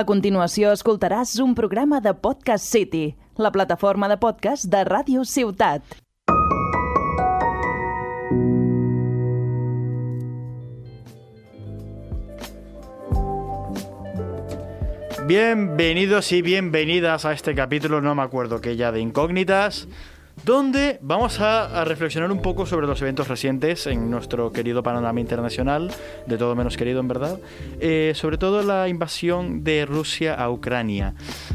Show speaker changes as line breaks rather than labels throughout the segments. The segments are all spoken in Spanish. A continuació escoltaràs un programa de Podcast City, la plataforma de podcast de Ràdio Ciutat.
Bienvenidos y bienvenidas a este capítulo, no me acuerdo que ya de incógnitas, donde vamos a, a reflexionar un poco sobre los eventos recientes en nuestro querido panorama internacional, de todo menos querido en verdad, eh, sobre todo la invasión de Rusia a Ucrania.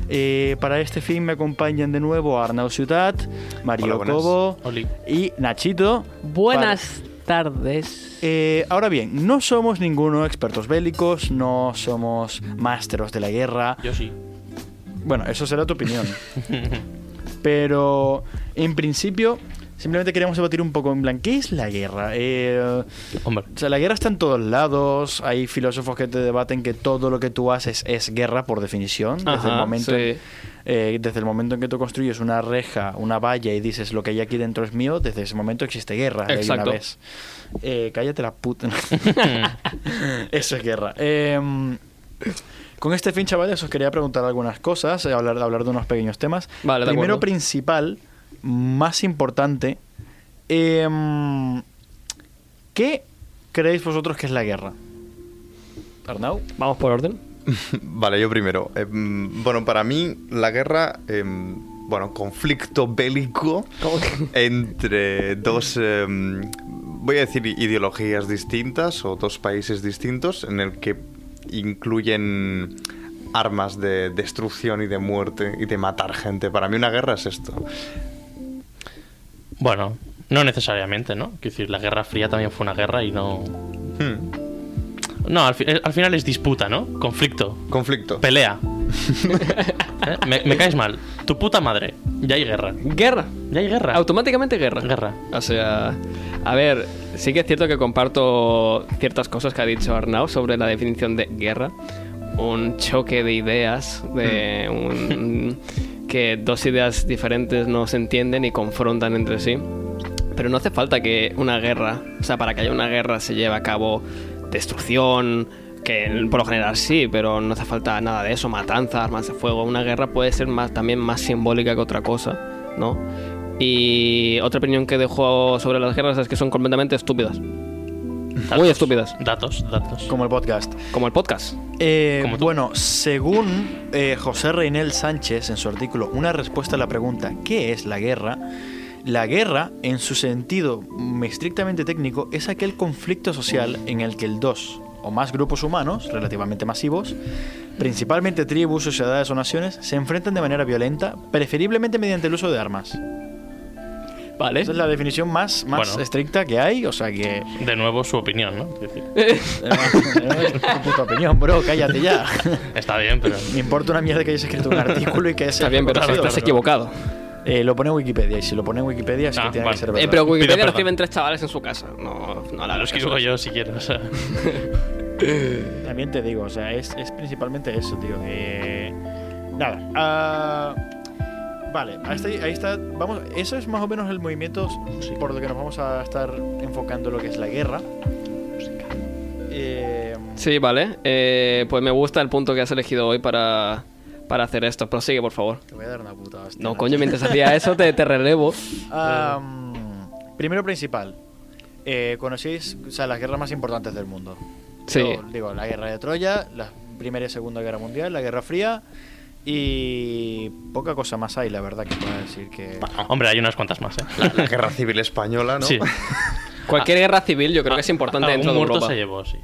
Eh, para este fin me acompañan de nuevo Arnau Ciutat, Mario
Hola, buenas.
Cobo
Oli.
y Nachito.
Buenas tardes.
Eh, ahora bien, no somos ninguno expertos bélicos, no somos másteros de la guerra.
Yo sí.
Bueno, eso será tu opinión. Pero en principio, simplemente queríamos debatir un poco en plan, ¿qué es la guerra? Eh,
Hombre.
o sea, la guerra está en todos lados, hay filósofos que te debaten que todo lo que tú haces es guerra por definición, desde el
Ajá,
momento
sí.
en- eh, desde el momento en que tú construyes una reja, una valla y dices lo que hay aquí dentro es mío, desde ese momento existe guerra. de ahí
Exacto.
Una vez. Eh, cállate la puta.
Mm,
Eso es guerra. Em, con este fin, chavales, os quería preguntar algunas cosas, eh, hablar, hablar de unos pequeños temas.
Vale, de
Primero,
acuerdo.
principal, más importante, em, ¿qué creéis vosotros que es la guerra? Arnau.
Vamos por orden.
Vale, yo primero. Em, bueno, para mí la guerra, em, bueno, conflicto bélico entre dos, em, voy a decir, ideologías distintas o dos países distintos en el que incluyen armas de destrucción y de muerte y de matar gente. Para mí una guerra es esto.
Bueno, no necesariamente, ¿no? Quiero decir, la Guerra Fría también fue una guerra y no...
Hmm,
No, al, fi- al final es disputa, ¿no? Conflicto.
Conflicto.
Pelea. ¿Eh? me, me caes mal. Tu puta madre. Ya hay guerra.
Guerra.
Ya hay guerra.
Automáticamente guerra.
Guerra.
O sea, a ver, sí que es cierto que comparto ciertas cosas que ha dicho Arnau sobre la definición de guerra. Un choque de ideas, de un, que dos ideas diferentes no se entienden y confrontan entre sí. Pero no hace falta que una guerra, o sea, para que haya una guerra se lleve a cabo destrucción, que por lo general sí, pero no hace falta nada de eso, matanzas, armas de fuego. Una guerra puede ser más, también más simbólica que otra cosa, ¿no? Y otra opinión que dejo sobre las guerras es que son completamente estúpidas,
Datos.
muy estúpidas,
Datos, datos.
Como el podcast.
como el podcast.
Eh,
Como tú.
bueno, según eh, José Reinel Sánchez en su artículo Una respuesta a la pregunta ¿qué es la guerra? La guerra, en su sentido mm, estrictamente técnico, es aquel conflicto social en el que el dos o más grupos humanos, relativamente masivos, principalmente tribus, sociedades o naciones, se enfrentan de manera violenta, preferiblemente mediante el uso de armas.
Vale.
Esa es la definición más, más
Bueno.
estricta que hay, o sea que... eh,
De nuevo su opinión, ¿no? Quiero decir,
Es eh, tu puta opinión, bro, cállate ya.
Está bien, pero...
Me importa una mierda que hayas escrito un artículo y que hayas
Está bien, pero
reconocido,
estás equivocado.
Eh, lo pone en Wikipedia y si lo pone en Wikipedia es que
Ah,
tiene que
vale.
ser
Eh,
verdad.
pero Wikipedia
perdón.
lo escriben tres chavales en su casa. No, no la
Lo escribo yo si quiero. o sea.
También te digo, o sea, es, es principalmente eso, tío. Eh, nada. ah, vale, ahí está, ahí está- Vamos, eso es más o menos el movimiento por lo que nos vamos a estar enfocando lo que es la guerra. Eh,
Sí, vale. Eh, pues me gusta el punto que has elegido hoy para, para hacer esto. Prosigue, por favor.
Te voy a dar una puta hostia.
No,
Nacho.
coño, mientras hacía eso te, te relevo.
Ah, mm, primero principal. Eh, ¿Conocéis o sea, las guerras más importantes del mundo?
Sí.
Yo digo, la guerra de Troya, la Primera y Segunda Guerra Mundial, la Guerra Fría y poca cosa más hay, la verdad, que pueda decir que...
Hombre, hay unas cuantas más, ¿eh?
La, la guerra civil española, ¿no?
Sí.
Cualquier guerra civil yo creo que es importante
Ah, Algún
dentro de
muerto
Europa.
se llevó, sí.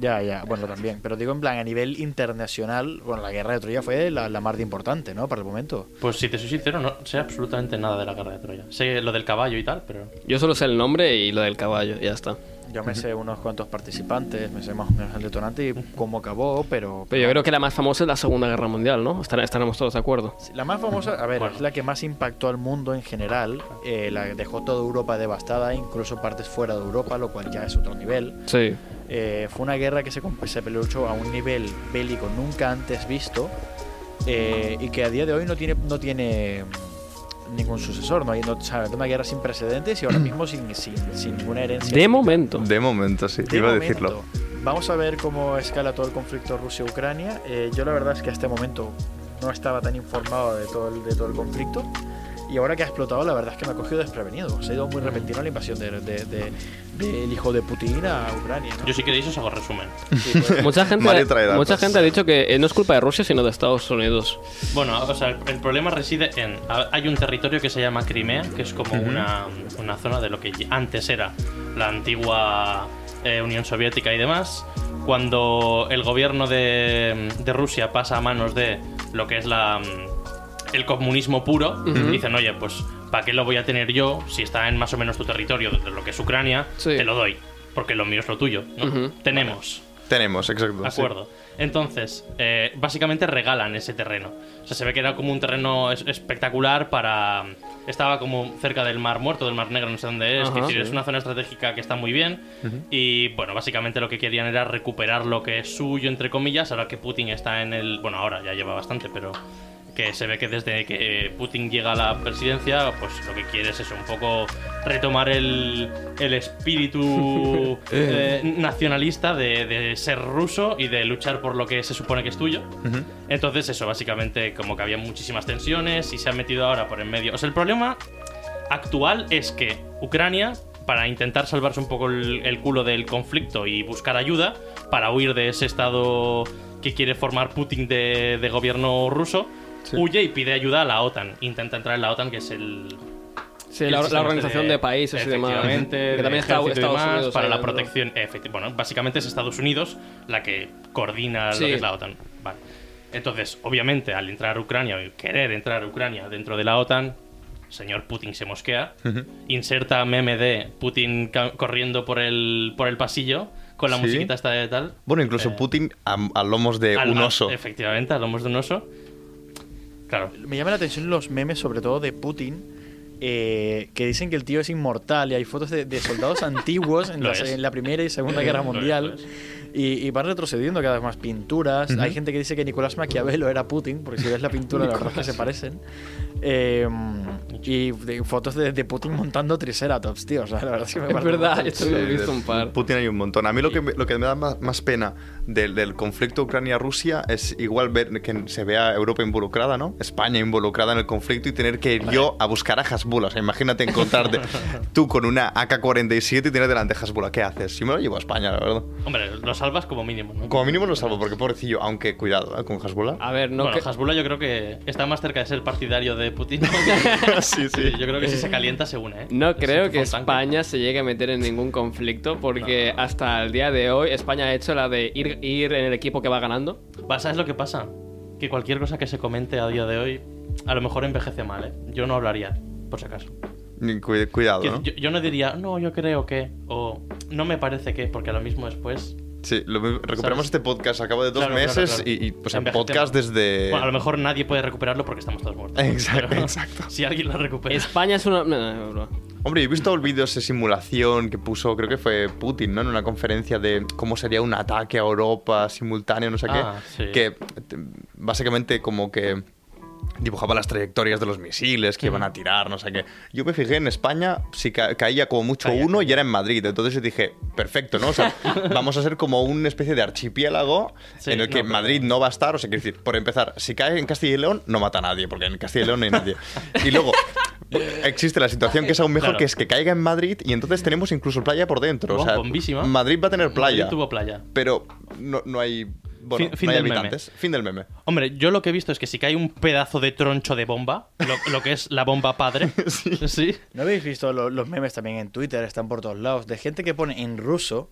Ya, ya, bueno, también. Pero digo, en plan, a nivel internacional, bueno, la guerra de Troya fue la, la más de importante, ¿no? Para el momento.
Pues si te soy sincero, no sé absolutamente nada de la Guerra de Troya. Sé lo del caballo y tal, pero...
Yo solo sé el nombre y lo del caballo, ya está.
Yo me sé unos cuantos participantes, me sé más o menos el detonante y cómo acabó, pero...
Pero
Ah.
yo creo que la más famosa es la Segunda Guerra Mundial, ¿no? Estar- Estaremos todos de acuerdo.
La más famosa, a ver,
Bueno.
es la que más impactó al mundo en general, eh, la que dejó toda Europa devastada, incluso partes fuera de Europa, lo cual ya es otro nivel.
Sí.
Eh, fue una guerra que se, com- se luchó a un nivel bélico nunca antes visto eh, y que a día de hoy no tiene, no tiene mm, ningún sucesor, no hay no, o sea, una guerra sin precedentes y ahora mismo sin, sin, sin ninguna herencia.
De momento.
De momento, sí.
De
Iba a
momento,
decirlo.
Vamos a ver cómo escala todo el conflicto Rusia-Ucrania. Eh, yo la verdad es que hasta el momento no estaba tan informado de todo, el, de todo el conflicto. Y ahora que ha explotado, la verdad es que me ha cogido desprevenido. Se ha ido
Mm.
muy repentino la invasión del de, de- del hijo de Putin a Ucrania. ¿no? pues,
Yo si queréis os hago resumen.
Mucha gente,
Mario trae datos.
mucha gente ha dicho que eh, no es culpa de Rusia, sino de Estados Unidos.
Bueno, o sea, el problema reside en... a- Hay un territorio que se llama Crimea, que es como una, una zona de lo que antes era la antigua eh, Unión Soviética y demás. Cuando el gobierno de, de Rusia pasa a manos de lo que es la, mm, el comunismo puro, dicen, oye, pues, ¿para qué lo voy a tener yo si está en más o menos tu territorio, de lo que es Ucrania?
Sí.
Te lo doy, porque lo mío es lo tuyo. ¿no?
Ujú.
Tenemos.
Tenemos, exacto.
De
sí.
acuerdo. Entonces, eh, básicamente regalan ese terreno. O sea, se ve que era como un terreno es- espectacular para... Estaba como cerca del Mar Muerto, del Mar Negro, no sé dónde es.
Ajá,
que sí,
sí.
Es una zona estratégica que está muy bien. Y bueno, básicamente lo que querían era recuperar lo que es suyo, entre comillas, ahora que Putin está en el... Bueno, ahora ya lleva bastante, pero que se ve que desde que eh, Putin llega a la presidencia, pues lo que quiere es eso, un poco retomar el, el espíritu eh, nacionalista de, de ser ruso y de luchar por lo que se supone que es tuyo. Entonces eso, básicamente como que había muchísimas tensiones y se han metido ahora por en medio. O sea, el problema actual es que Ucrania, para intentar salvarse un poco el, el culo del conflicto y buscar ayuda, para huir de ese estado que quiere formar Putin de, de gobierno ruso, huye y pide ayuda a la OTAN. Intenta entrar en la OTAN, que es el...
Sí,
el
la, la
sistema
organización
este
de, países y demás.
efectivamente,
Que
de
también está
ejército y
Estados
demás,
Unidos
para
ahí
la
dentro.
protección. efecti- Bueno, básicamente es Estados Unidos la que coordina
Sí.
lo que es la OTAN. Vale. Entonces, obviamente, al entrar Ucrania o querer entrar Ucrania dentro de la OTAN, señor Putin se mosquea, inserta meme de Putin ca- corriendo por el, por el pasillo con la
Sí.
musiquita esta de tal.
Bueno, incluso Putin a, a lomos de
Eh, Al-
un
al-
oso.
Efectivamente, al lomos de un oso. Claro.
Me llama la atención los memes, sobre todo de Putin, eh, que dicen que el tío es inmortal y hay fotos de, de soldados antiguos en,
Lo
la,
es.
en la Primera y Segunda Guerra
Lo es,
Mundial.
lo es.
Y, y van retrocediendo cada vez más pinturas. Hay gente que dice que Nicolás Maquiavelo era Putin, porque si ves la pintura, la verdad es que se parecen. Eh, y de- fotos de, de Putin montando Triceratops, tío. O sea, la verdad es que me
Es
parece
verdad,
brutal.
esto lo he visto un par.
Putin hay un montón. A mí lo que, me- lo que me da más, más pena del, del conflicto Ucrania-Rusia es igual ver que se vea Europa involucrada, ¿no? España involucrada en el conflicto y tener que ir yo a buscar a Hasbula. O sea, imagínate encontrarte tú con una AK-47 y tener delante a Hasbula. ¿Qué haces? Yo me lo llevo a España, la verdad.
Hombre, lo salvas como mínimo, ¿no?
Como mínimo lo salvo, porque pobrecillo, aunque cuidado ¿eh? con Hasbula.
A ver, no.
bueno,
que-
Hasbullah yo creo que está más cerca de ser partidario de Putin.
sí, sí.
Ah, Sí, yo creo que si se calienta se une, ¿eh?
No
Se
creo
enchufa
que
un tanque.
España se llegue a meter en ningún conflicto porque hasta el día de hoy España ha hecho la de ir, ir en el equipo que va ganando.
Va, ¿Sabes lo que pasa? Que cualquier cosa que se comente a día de hoy, a lo mejor envejece mal, ¿eh? Yo no hablaría, por si acaso.
Ni cu- Cuidado,
Quiero
¿no?
decir, Yo, yo no diría, no, yo creo que, o no me parece que, porque a lo mismo después.
Sí, lo mismo- recuperamos
¿Sabes?
este podcast a cabo de dos
Claro, claro,
meses
claro.
y, y, pues, en
Envejecemos.
podcast desde...
Bueno, a lo mejor nadie puede recuperarlo porque estamos todos muertos.
Eh. Exacto, exacto.
Si alguien lo recupera.
España es una... no, no, no, no.
Hombre, he visto vídeos de simulación que puso, creo que fue Putin, ¿no? En una conferencia de cómo sería un ataque a Europa simultáneo, no sé
Ah,
qué.
sí.
Que eh, básicamente como que dibujaba las trayectorias de los misiles que iban a tirar, no sé qué. Yo me fijé en España, si ca- caía como mucho
Caía.
uno y era en Madrid. Entonces yo dije, perfecto, ¿no? O sea, vamos a ser como una especie de archipiélago
Sí,
en el que
no, pero-
Madrid no va a estar. O sea, quiero decir, por empezar, si cae en Castilla y León, no mata a nadie, porque en Castilla y León no hay nadie. Y luego existe la situación que es aún mejor,
Claro.
que es que caiga en Madrid y entonces tenemos incluso playa por dentro.
Buah,
o sea,
bombísima.
Madrid va a tener playa,
Madrid tuvo playa.
pero no, no hay, bueno,
Fin- fin
no hay
del meme.
habitantes. Fin del meme.
Hombre, yo lo que he visto es que si cae un pedazo de troncho de bomba, lo, lo que es la bomba padre, sí.
¿No habéis visto lo- los memes también en Twitter? Están por todos lados. De gente que pone en ruso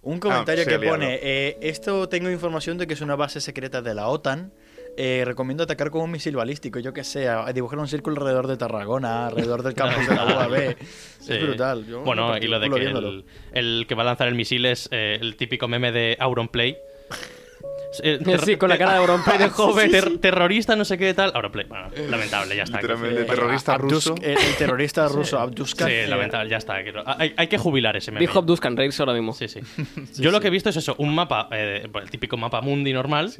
un
Ah,
comentario
sí,
que
liado.
pone: eh, Esto tengo información de que es una base secreta de la OTAN. eh, recomiendo atacar con un misil balístico, yo que sé, a- a dibujar un círculo alrededor de Tarragona, alrededor del campus de la UAB.
Sí.
Es brutal. Yo me
bueno,
partí
y lo de
culo
que
viéndolo.
el, el que va a lanzar el misil es eh, el típico meme de Auronplay. Eh, ter-
Sí, con la cara de Auronplay de
ter-
joven.
ter- Terrorista, no sé qué tal. Auronplay. Bueno,
Eh,
lamentable, ya está.
Literalmente,
Sí,
terrorista
Abdus-
ruso.
El, el terrorista ruso Abduskan.
eh.
Sí, lamentable, ya está. que no- Hay, hay que jubilar ese meme.
Dijo Abduskan Reis ahora mismo.
Sí, sí. Yo lo que he visto es eso, un mapa, eh, bueno, el típico mapa mundi normal,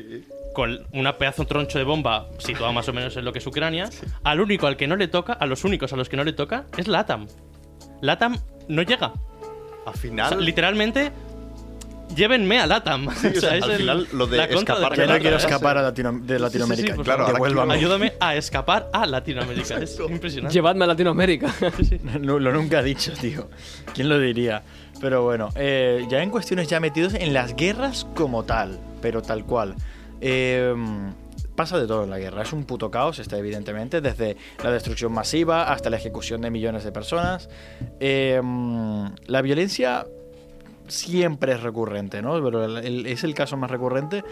con una pedazo troncho de bomba situado más o menos en lo que es Ucrania. Al único al que no le toca, a los únicos a los que no le toca, es LATAM. LATAM no llega.
Al
O sea,
final,
literalmente llévenme a Latam.
o sea, al final lo de
la contra
escapar
Ya
de
no
Claro,
quiero
ese.
escapar a Latino- de Latinoamérica.
por
Claro,
favor.
ahora
devuélvame.
aquí
Ayúdame a escapar a Latinoamérica. Es impresionante.
Llevadme a Latinoamérica.
No, lo nunca he dicho, tío. ¿Quién lo diría? Pero bueno, eh, ya en cuestiones ya metidos en las guerras como tal, pero tal cual. Eh, pasa de todo en la guerra. Es un puto caos, está evidentemente, desde la destrucción masiva hasta la ejecución de millones de personas. Eh, la violencia siempre es recurrente, ¿no? Pero el- el- es el caso más recurrente.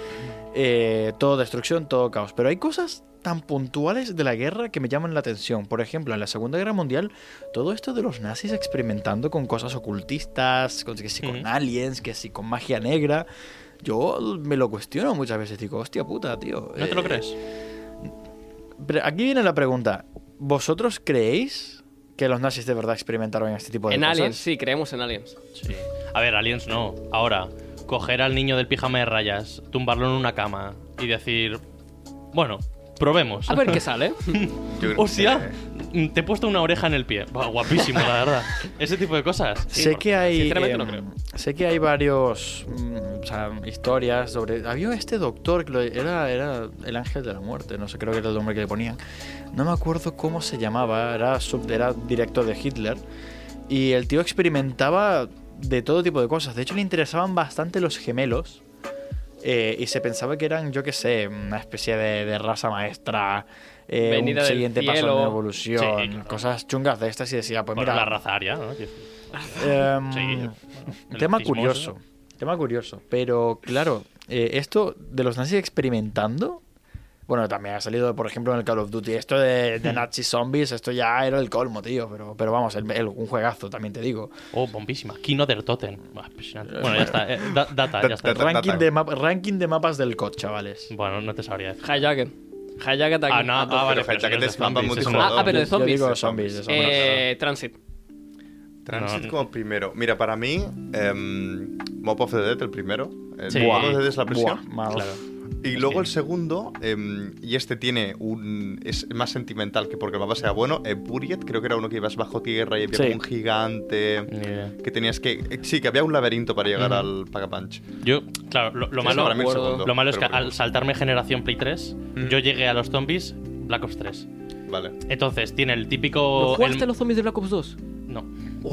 Eh, todo destrucción, todo caos. Pero hay cosas tan puntuales de la guerra que me llaman la atención. Por ejemplo, en la Segunda Guerra Mundial, todo esto de los nazis experimentando con cosas ocultistas, con, que si con
Ujú.
aliens, que si con magia negra. Yo me lo cuestiono muchas veces, digo, hostia puta, tío.
¿No te lo
eh,
crees?
pero aquí viene la pregunta. ¿Vosotros creéis que los nazis de verdad experimentaron este tipo de
en
cosas?
Aliens, sí, creemos en Aliens.
Sí. A ver, aliens no. Ahora, coger al niño del pijama de rayas, tumbarlo en una cama y decir, bueno, probemos.
A ver qué sale.
Yo creo
Hostia, mm, te he puesto una oreja en el pie. Buah, guapísimo, la verdad. Ese tipo de cosas.
Sí,
sé
porque
que hay
sinceramente no
em,
creo.
sé que hay varios mm, o sea, historias sobre había este doctor que lo- era era el ángel de la muerte no sé creo que era el nombre que le ponían no me acuerdo cómo se llamaba era sub, era director de Hitler y el tío experimentaba de todo tipo de cosas de hecho le interesaban bastante los gemelos eh, y se pensaba que eran yo qué sé una especie de, de raza maestra eh,
Venida
un
del
siguiente paso en
cielo.
la evolución
Sí, claro.
cosas chungas de estas y decía pues
Bueno,
mira
la raza aria, ¿no?
Em,
Sí, bueno, el
tema
autismo,
curioso. Tema curioso. Pero claro, eh, esto de los nazis experimentando. Bueno, también ha salido, por ejemplo, en el Call of Duty. Esto de, de Nazi zombies, esto ya era el colmo, tío. Pero, pero vamos, el- el- un juegazo, también te digo.
Oh, bombísima. Kino del Totem. Buah, impresionante. Bueno, ya está. eh, da- data, ya está.
Data.
Ranking de, map- ranking de mapas del COD, chavales.
Bueno, no te sabría decir.
Hayaken. Hayaken
Ah, no, ah, vale,
pero Jack
eso no
te
es de
estampa
zombies, eso no.
multijugador.
Ah, pero de
Yo- yo
zombies.
digo zombies, de zombies.
Eh, Transit.
Transit
No.
como primero. Mira, para mí, em, Mop of the Dead, el primero. El
Sí.
Mop of the Dead es la
Buah,
prisión.
mal.
Claro.
Y luego el segundo, em, y este tiene un. es más sentimental que porque el mapa sea bueno. Eh, Buried, creo que era uno que ibas bajo tierra y había
Sí.
como un gigante.
Ni idea.
Que tenías que. eh, Sí, que había un laberinto para llegar al Pagapunch.
Yo, claro, lo, lo malo,
para mí el
acuerdo.
segundo,
lo malo es que
pero
al saltarme generación Play 3, yo llegué a los zombies Black Ops 3.
bueno. Vale.
Entonces, tiene el
¿No
típico.
jugaste
el-
los zombies de Black Ops 2?
No. Pero,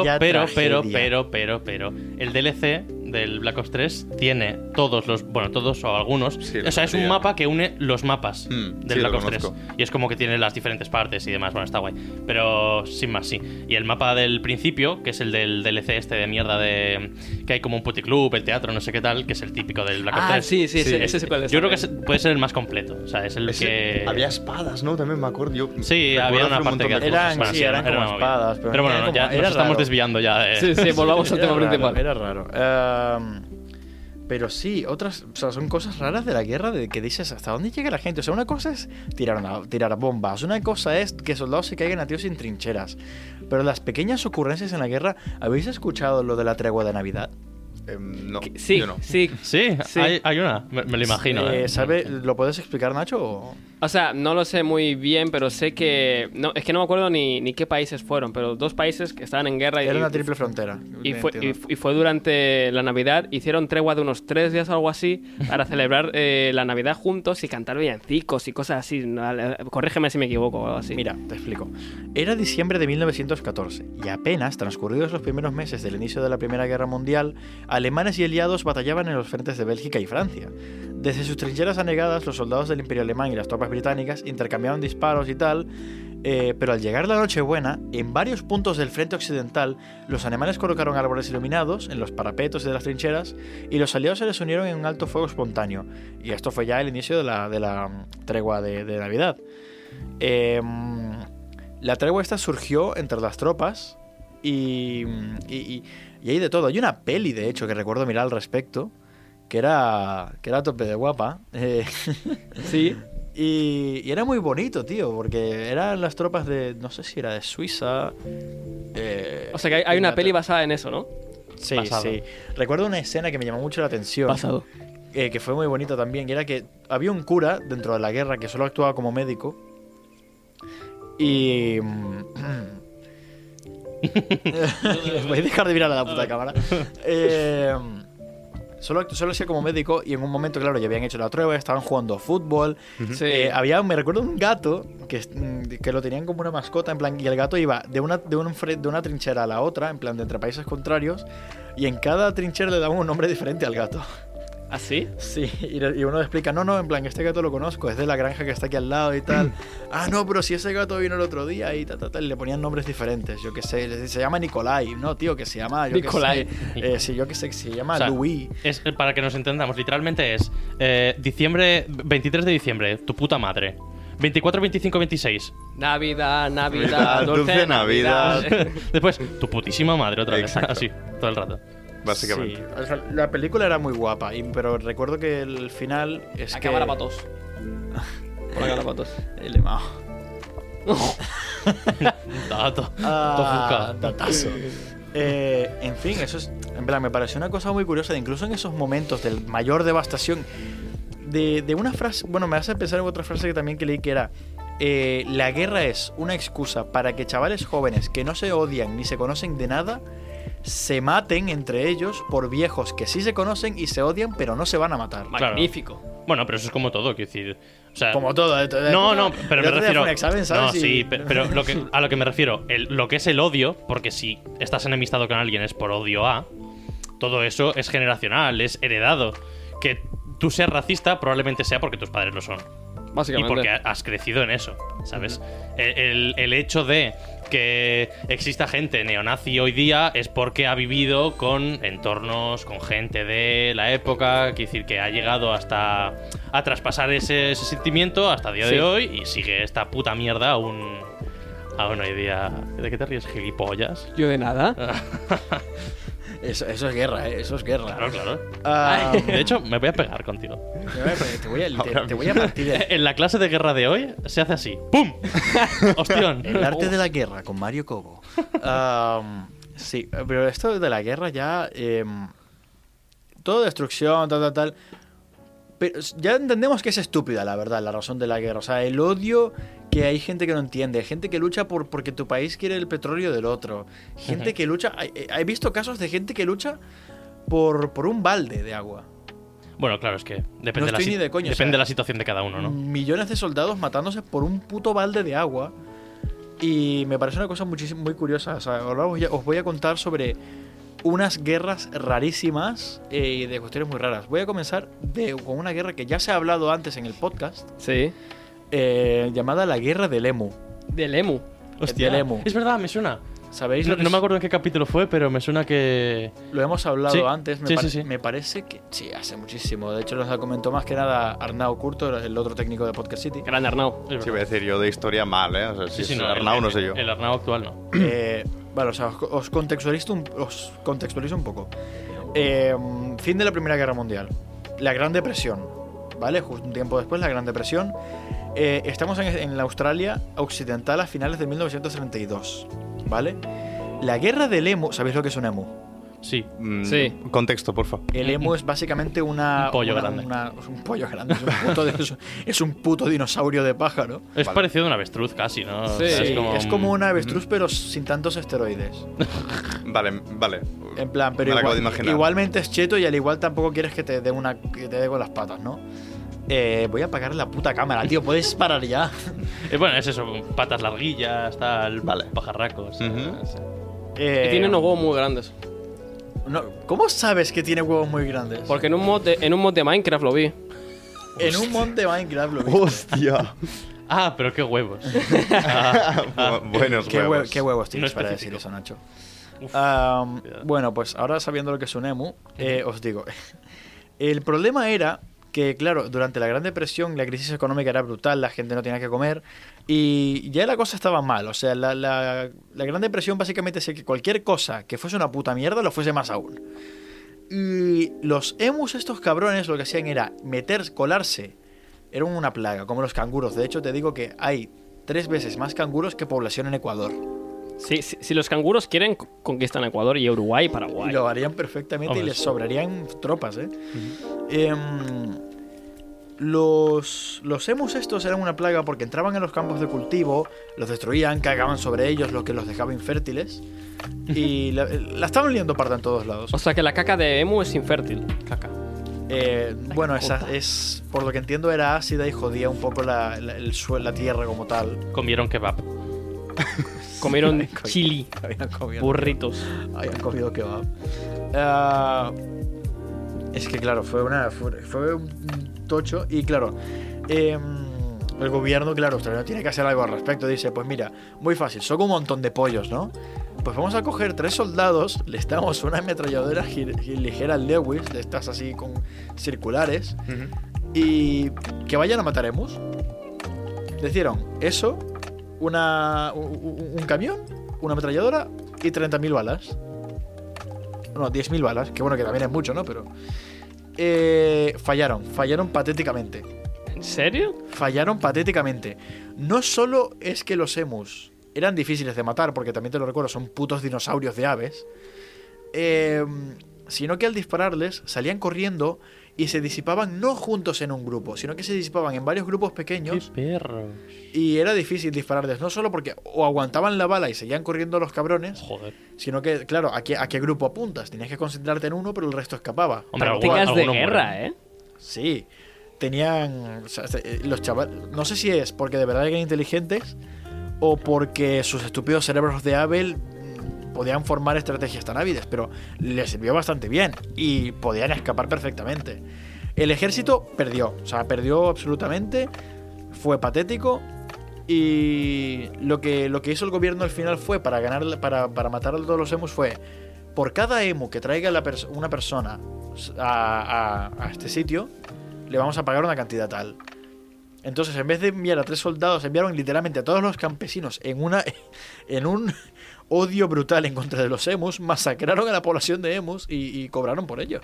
Vaya
pero, pero,
tragedia.
pero, pero, pero. El DLC del Black Ops 3 tiene todos los. Bueno, todos o algunos.
Sí, la
o sea, es un
mayoría.
mapa que une los mapas
Mm,
del
sí, lo
Black Ops 3.
conozco.
Y es como que tiene las diferentes partes y demás. Bueno, está guay. Pero sin más, sí. Y el mapa del principio, que es el del DLC este de mierda de. Que hay como un puticlub, el teatro, no sé qué tal, que es el típico del Black Ops
Ah,
3.
sí, sí, ese- ese sí cuál es
Yo creo que
también.
ese puede ser el más completo. O sea, es el
Ese-
que.
Había espadas, ¿no? También me acuerdo. Yo
Sí,
recuerdo
había
hacer
una
un
parte que
montón de
Eran-
cosas.
bueno,
sí, eran
era
como
una movida.
espadas, pero
Pero bueno,
era como-
ya
era
nos estamos
raro.
desviando ya de...
Sí, sí, volvamos al
Eh. Era
tema
raro,
principal.
Era raro. Ehm, pero sí, otras. O sea, son cosas raras de la guerra de que dices hasta dónde llega la gente. O sea, una cosa es tirar, una- tirar bombas, una cosa es que soldados se caigan a tíos sin trincheras. Pero las pequeñas ocurrencias en la guerra. ¿Habéis escuchado lo de la tregua de Navidad?
Em, no,
Que- Sí,
yo no.
sí.
Sí,
Sí.
Hay, hay una, me, me lo imagino.
Eh,
eh.
¿sabe- ¿Lo puedes explicar, Nacho? o-
O sea, no lo sé muy bien, pero sé que... No, es que no me acuerdo ni, ni qué países fueron, pero dos países que estaban en guerra y...
Era una triple frontera.
Y fue, y,
entiendo.
fu- y fue durante la Navidad, hicieron tregua de unos tres días o algo así para celebrar eh, la Navidad juntos y cantar villancicos y cosas así. ¿no? Al- Corrígeme si me equivoco o algo así.
Mira, te explico. Era diciembre de 1914 y apenas transcurridos los primeros meses del inicio de la Primera Guerra Mundial, alemanes y aliados batallaban en los frentes de Bélgica y Francia. Desde sus trincheras anegadas, los soldados del Imperio Alemán y las tropas británicas intercambiaban disparos y tal, eh, pero al llegar la Nochebuena, en varios puntos del frente occidental, los alemanes colocaron árboles iluminados en los parapetos de las trincheras y los aliados se les unieron en un alto fuego espontáneo. Y esto fue ya el inicio de la, de la mm, tregua de- de Navidad. Eh, la tregua esta surgió entre las tropas y, y, y- y hay de todo. Hay una peli, de hecho, que recuerdo mirar al respecto, que era, que era a tope de guapa. eh,
Sí.
y, y era muy bonito, tío, porque eran las tropas de, no sé si era de Suiza. eh,
O sea que hay, hay una
Inglaterra.
peli basada en eso, ¿no?
Sí,
basado.
sí. Recuerdo una escena que me llamó mucho la atención eh, que fue muy bonito también, que era que había un cura dentro de la guerra que solo actuaba como médico. Y. mm, Voy a dejar de mirar a la puta cámara. Eh, Solo, act- solo hacía como médico y en un momento, claro, ya habían hecho la prueba, estaban jugando fútbol.
Sí.
Eh, había, me recuerdo un gato que, es- mm, que lo tenían como una mascota, en plan, y el gato iba de una, de, un fre- de una trinchera a la otra, en plan, de entre países contrarios, y en cada trinchera le daban un nombre diferente al gato.
¿Ah, sí?
Sí, y, le- y uno le explica, no, no, en plan, este gato lo conozco, es de la granja que está aquí al lado y tal. ah, no, pero si ese gato vino el otro día y tal, tal, tal, y le ponían nombres diferentes, yo qué sé, le- se llama Nicolai, no, tío, que se llama, yo qué sé,
Nicolai.
eh, sí, yo qué sé, que se llama
O sea,
Louis.
Es, eh, para que nos entendamos, literalmente es eh, diciembre, 23 de diciembre, tu puta madre. 24, 25, 26.
Navidad,
Navidad, Navidad,
dulce
dulce
Ah.
Navidad.
Después, tu putísima madre otra vez.
Exacto.
Así, todo el rato.
Básicamente.
Sí, o sea, la película era muy guapa, y- pero recuerdo que el final es que...
Acabar a patos. Por acabar a patos.
El emao.
Dato.
Ah,
Tofuka.
datazo. Eh, en fin, eso es. En plan, me pareció una cosa muy curiosa. de incluso en esos momentos de mayor devastación. De, de una frase. Bueno, me hace pensar en otra frase que también que leí que era. eh, la guerra es una excusa para que chavales jóvenes que no se odian ni se conocen de nada se maten entre ellos por viejos que sí se conocen y se odian pero no se van a matar.
Claro.
Magnífico.
Bueno, pero eso es como todo, quiero decir. O sea,
Como todo. eh, todo-
No, no,
el
pero me
otro día
refiero.
fue un examen, ¿sabes?
No,
Y-
sí, pe- pero lo que, a lo que me refiero, el- lo que es el odio, porque si estás enemistado con alguien es por odio a, todo eso es generacional, es heredado. Que tú seas racista probablemente sea porque tus padres lo son. Y
Básicamente.
porque ha- has crecido en eso, ¿sabes? El, el- el hecho de que exista gente neonazi hoy día es porque ha vivido con entornos, con gente de la época, quiere decir que ha llegado hasta a traspasar ese, ese sentimiento hasta día
Sí.
de hoy y sigue esta puta mierda aún, aún hoy día. ¿De qué te ríes, gilipollas?
Yo de nada.
Eso, eso es guerra, eh, eso es guerra.
Claro, claro.
Ah,
De hecho, me voy a pegar contigo.
Te voy a- Te voy a, te- te voy a partir el,
En la clase de guerra de hoy se hace así. ¡Pum! ¡Hostión!
el arte de la guerra con Mario Cobo. Am, sí, pero esto de la guerra ya. em, todo destrucción, tal, tal, tal. Pero s- ya entendemos que es estúpida, la verdad, la razón de la guerra. O sea, el odio que hay gente que no entiende, gente que lucha por porque tu país quiere el petróleo del otro, gente que lucha. hay- eh, He visto casos de gente que lucha por, por un balde de agua.
Bueno, claro, es que depende,
No
de, la
estoy
si-
ni de coño,
depende
o sea, Mm.
de la situación de cada uno, ¿no?
millones de soldados matándose por un puto balde de agua. Y me parece una cosa muchísimo, muy curiosa. O sea, ahora os, ya- os voy a contar sobre unas guerras rarísimas eh, y de cuestiones muy raras. Voy a comenzar de, con una guerra que ya se ha hablado antes en el podcast,
Sí.
eh, llamada la Guerra del Emu.
Del Emu.
Hostia. del emu.
Es verdad, me suena.
¿Sabéis?
No,
lo que
no me
es?
acuerdo en qué capítulo fue, pero me suena que.
Lo hemos hablado
Sí,
antes. Me,
sí,
par-
sí, sí.
me parece que sí, hace muchísimo. De hecho, nos la comentó más que nada Arnau Curto, el otro técnico de Podcast City.
Gran Arnau.
es
Sí, voy
verdad.
a decir yo de historia mal, ¿eh? O sea, si es Arnau,
el-
no sé yo.
El Arnau actual no.
Eh, bueno, o sea, os, os contextualizo un, os contextualizo un poco. Eh, fin de la Primera Guerra Mundial. La Gran Depresión, ¿vale? Justo un tiempo después, la Gran Depresión. Eh, estamos en, en la Australia Occidental a finales de 1932, ¿vale? La guerra del emu, ¿sabéis lo que es un emu?
Sí.
Mm,
Sí.
Contexto, porfa.
El emu es básicamente una.
Un pollo
una-
grande.
una- es un pollo grande, es un puto, de- es un- es un puto dinosaurio de pájaro.
Es
Vale.
parecido a un avestruz casi, ¿no? O sea,
Sí,
Sí, es
un-
como un avestruz, pero sin tantos esteroides.
Vale, vale.
En plan, pero
Me la acabo
igual-
de imaginar.
igualmente es cheto y al igual tampoco quieres que te dé una que te dé con las patas, ¿no? Eh, voy a apagar la puta cámara, tío. ¿Puedes parar ya?
eh, bueno, es eso, con patas larguillas, tal,
Vale.
pajarracos. eh,
Ujú.
sí.
Eh,
Y tiene unos huevos muy grandes.
no, ¿Cómo sabes que tiene huevos muy grandes?
Porque en un mod de, en un mod de Minecraft lo vi.
en un monte Minecraft lo vi.
¡Hostia!
Ah, pero qué huevos. Ah,
Ah, Bu- Buenos
¿Qué, hue-
huevos.
qué huevos tienes
No
para decir
específico.
eso, Nacho?
Uf.
Am,
Cuidado.
bueno, pues ahora sabiendo lo que es un emu, eh, os digo. El problema era que, claro, durante la Gran Depresión la crisis económica era brutal, la gente no tenía que comer y ya la cosa estaba mal. O sea, la, la- la Gran Depresión básicamente hacía que cualquier cosa que fuese una puta mierda lo fuese más aún. Y los emus, estos cabrones, lo que hacían era meter, colarse. Era una plaga, como los canguros. De hecho, te digo que hay tres veces más canguros que población en Ecuador.
Si, si, si los canguros quieren, co- conquistan Ecuador y Uruguay y Paraguay.
Y lo harían perfectamente
Hombre,
y les
sí.
sobrarían tropas, ¿eh? Em, Los, los emus estos eran una plaga porque entraban en los campos de cultivo, los destruían, cagaban sobre ellos, lo que los dejaba infértiles. Y la, la estaban liando parda en todos lados.
O sea que la caca de Emu es infértil.
Caca.
Eh, bueno, esa
cacota.
es, por lo que entiendo era ácida y jodía un poco la, la- el suelo, la tierra como tal.
Comieron kebab.
Comieron chili,
Habían comido,
burritos.
habían comido kebab. Ah, es que claro, fue una fue, fue un tocho y claro, eh, el gobierno, claro, australiano tiene que hacer algo al respecto. Dice, pues mira, muy fácil, son un montón de pollos, ¿no? Pues vamos a coger tres soldados, les damos una ametralladora gir- gir- ligera Lewis, de estas así con circulares, y que vayan a matar emus. Les dieron eso, una, u- u- un, camión, una ametralladora y 30.000 balas. No, 10.000 balas, que bueno, que también es mucho, ¿no? Pero... eh, fallaron, fallaron patéticamente.
¿En serio?
Fallaron patéticamente. No solo es que los emus eran difíciles de matar, porque también te lo recuerdo, son putos dinosaurios de aves, eh, sino que al dispararles salían corriendo y se disipaban no juntos en un grupo, sino que se disipaban en varios grupos pequeños
perro!
y era difícil dispararles, no solo porque o aguantaban la bala y seguían corriendo los cabrones,
Joder.
sino que, claro, ¿a qué, a qué grupo apuntas? Tenías que concentrarte en uno, pero el resto escapaba.
Hombre, algu-
Prácticas de
alguno muere.
guerra, ¿eh?
Sí, tenían. o sea, se- eh, los chavales. No sé si es porque de verdad eran inteligentes o porque sus estúpidos cerebros de Abel mm, podían formar estrategias tan ávidas, pero les sirvió bastante bien y podían escapar perfectamente. El ejército perdió, o sea, perdió absolutamente, fue patético. Y lo que, lo que hizo el gobierno al final fue, para, ganar, para, para matar a todos los emus, fue por cada emu que traiga la pers- una persona a, a- a este sitio, le vamos a pagar una cantidad tal. Entonces, en vez de enviar a tres soldados, enviaron literalmente a todos los campesinos en, una, en un odio brutal en contra de los emus, masacraron a la población de emus y, y cobraron por ello.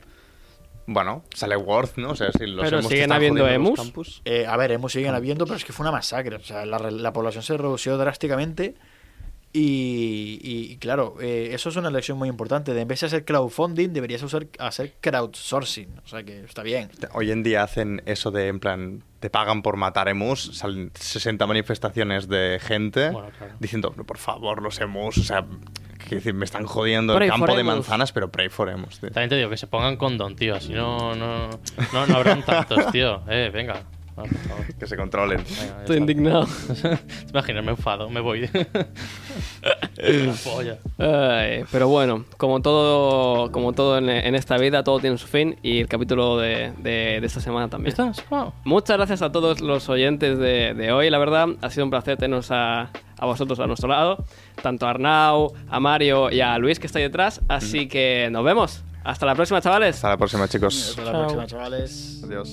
Bueno, sale Worth, ¿no? O sea, si los
Pero
emus te
siguen
están
habiendo
jodiendo los
emus.
campus.
Eh, a ver, emus siguen habiendo, pero es que fue una masacre. O sea, la, re- la población se redució drásticamente. Y, y- y claro, eh, eso es una lección muy importante. De en vez de hacer crowdfunding, deberías usar, hacer crowdsourcing. O sea que está bien.
Hoy en día hacen eso de, en plan, te pagan por matar emus, salen 60 manifestaciones de gente
Bueno, claro.
diciendo, "No, por favor, los emus, o sea, que decir, me están jodiendo
Pray
el campo
for
de
emus.
manzanas, pero pray for emus, tío.
También te digo que se pongan condón, tío. Así no, no, no, no habrán tantos, tío. Eh, venga. Va, por favor.
Que se controlen.
Venga, ya
Estoy
está.
indignado.
Te imaginas, me enfado, me voy. La polla.
Ay, pero bueno, como todo, como todo en, en esta vida, todo tiene su fin y el capítulo de, de- de esta semana también. Muchas gracias a todos los oyentes de, de hoy, la verdad. Ha sido un placer tenernos a, a vosotros a nuestro lado, tanto a Arnau, a Mario y a Luis que está ahí detrás. Así que nos vemos. Hasta la próxima, chavales.
Hasta la próxima, chicos.
Hasta la
Chao.
próxima, chavales.
Adiós.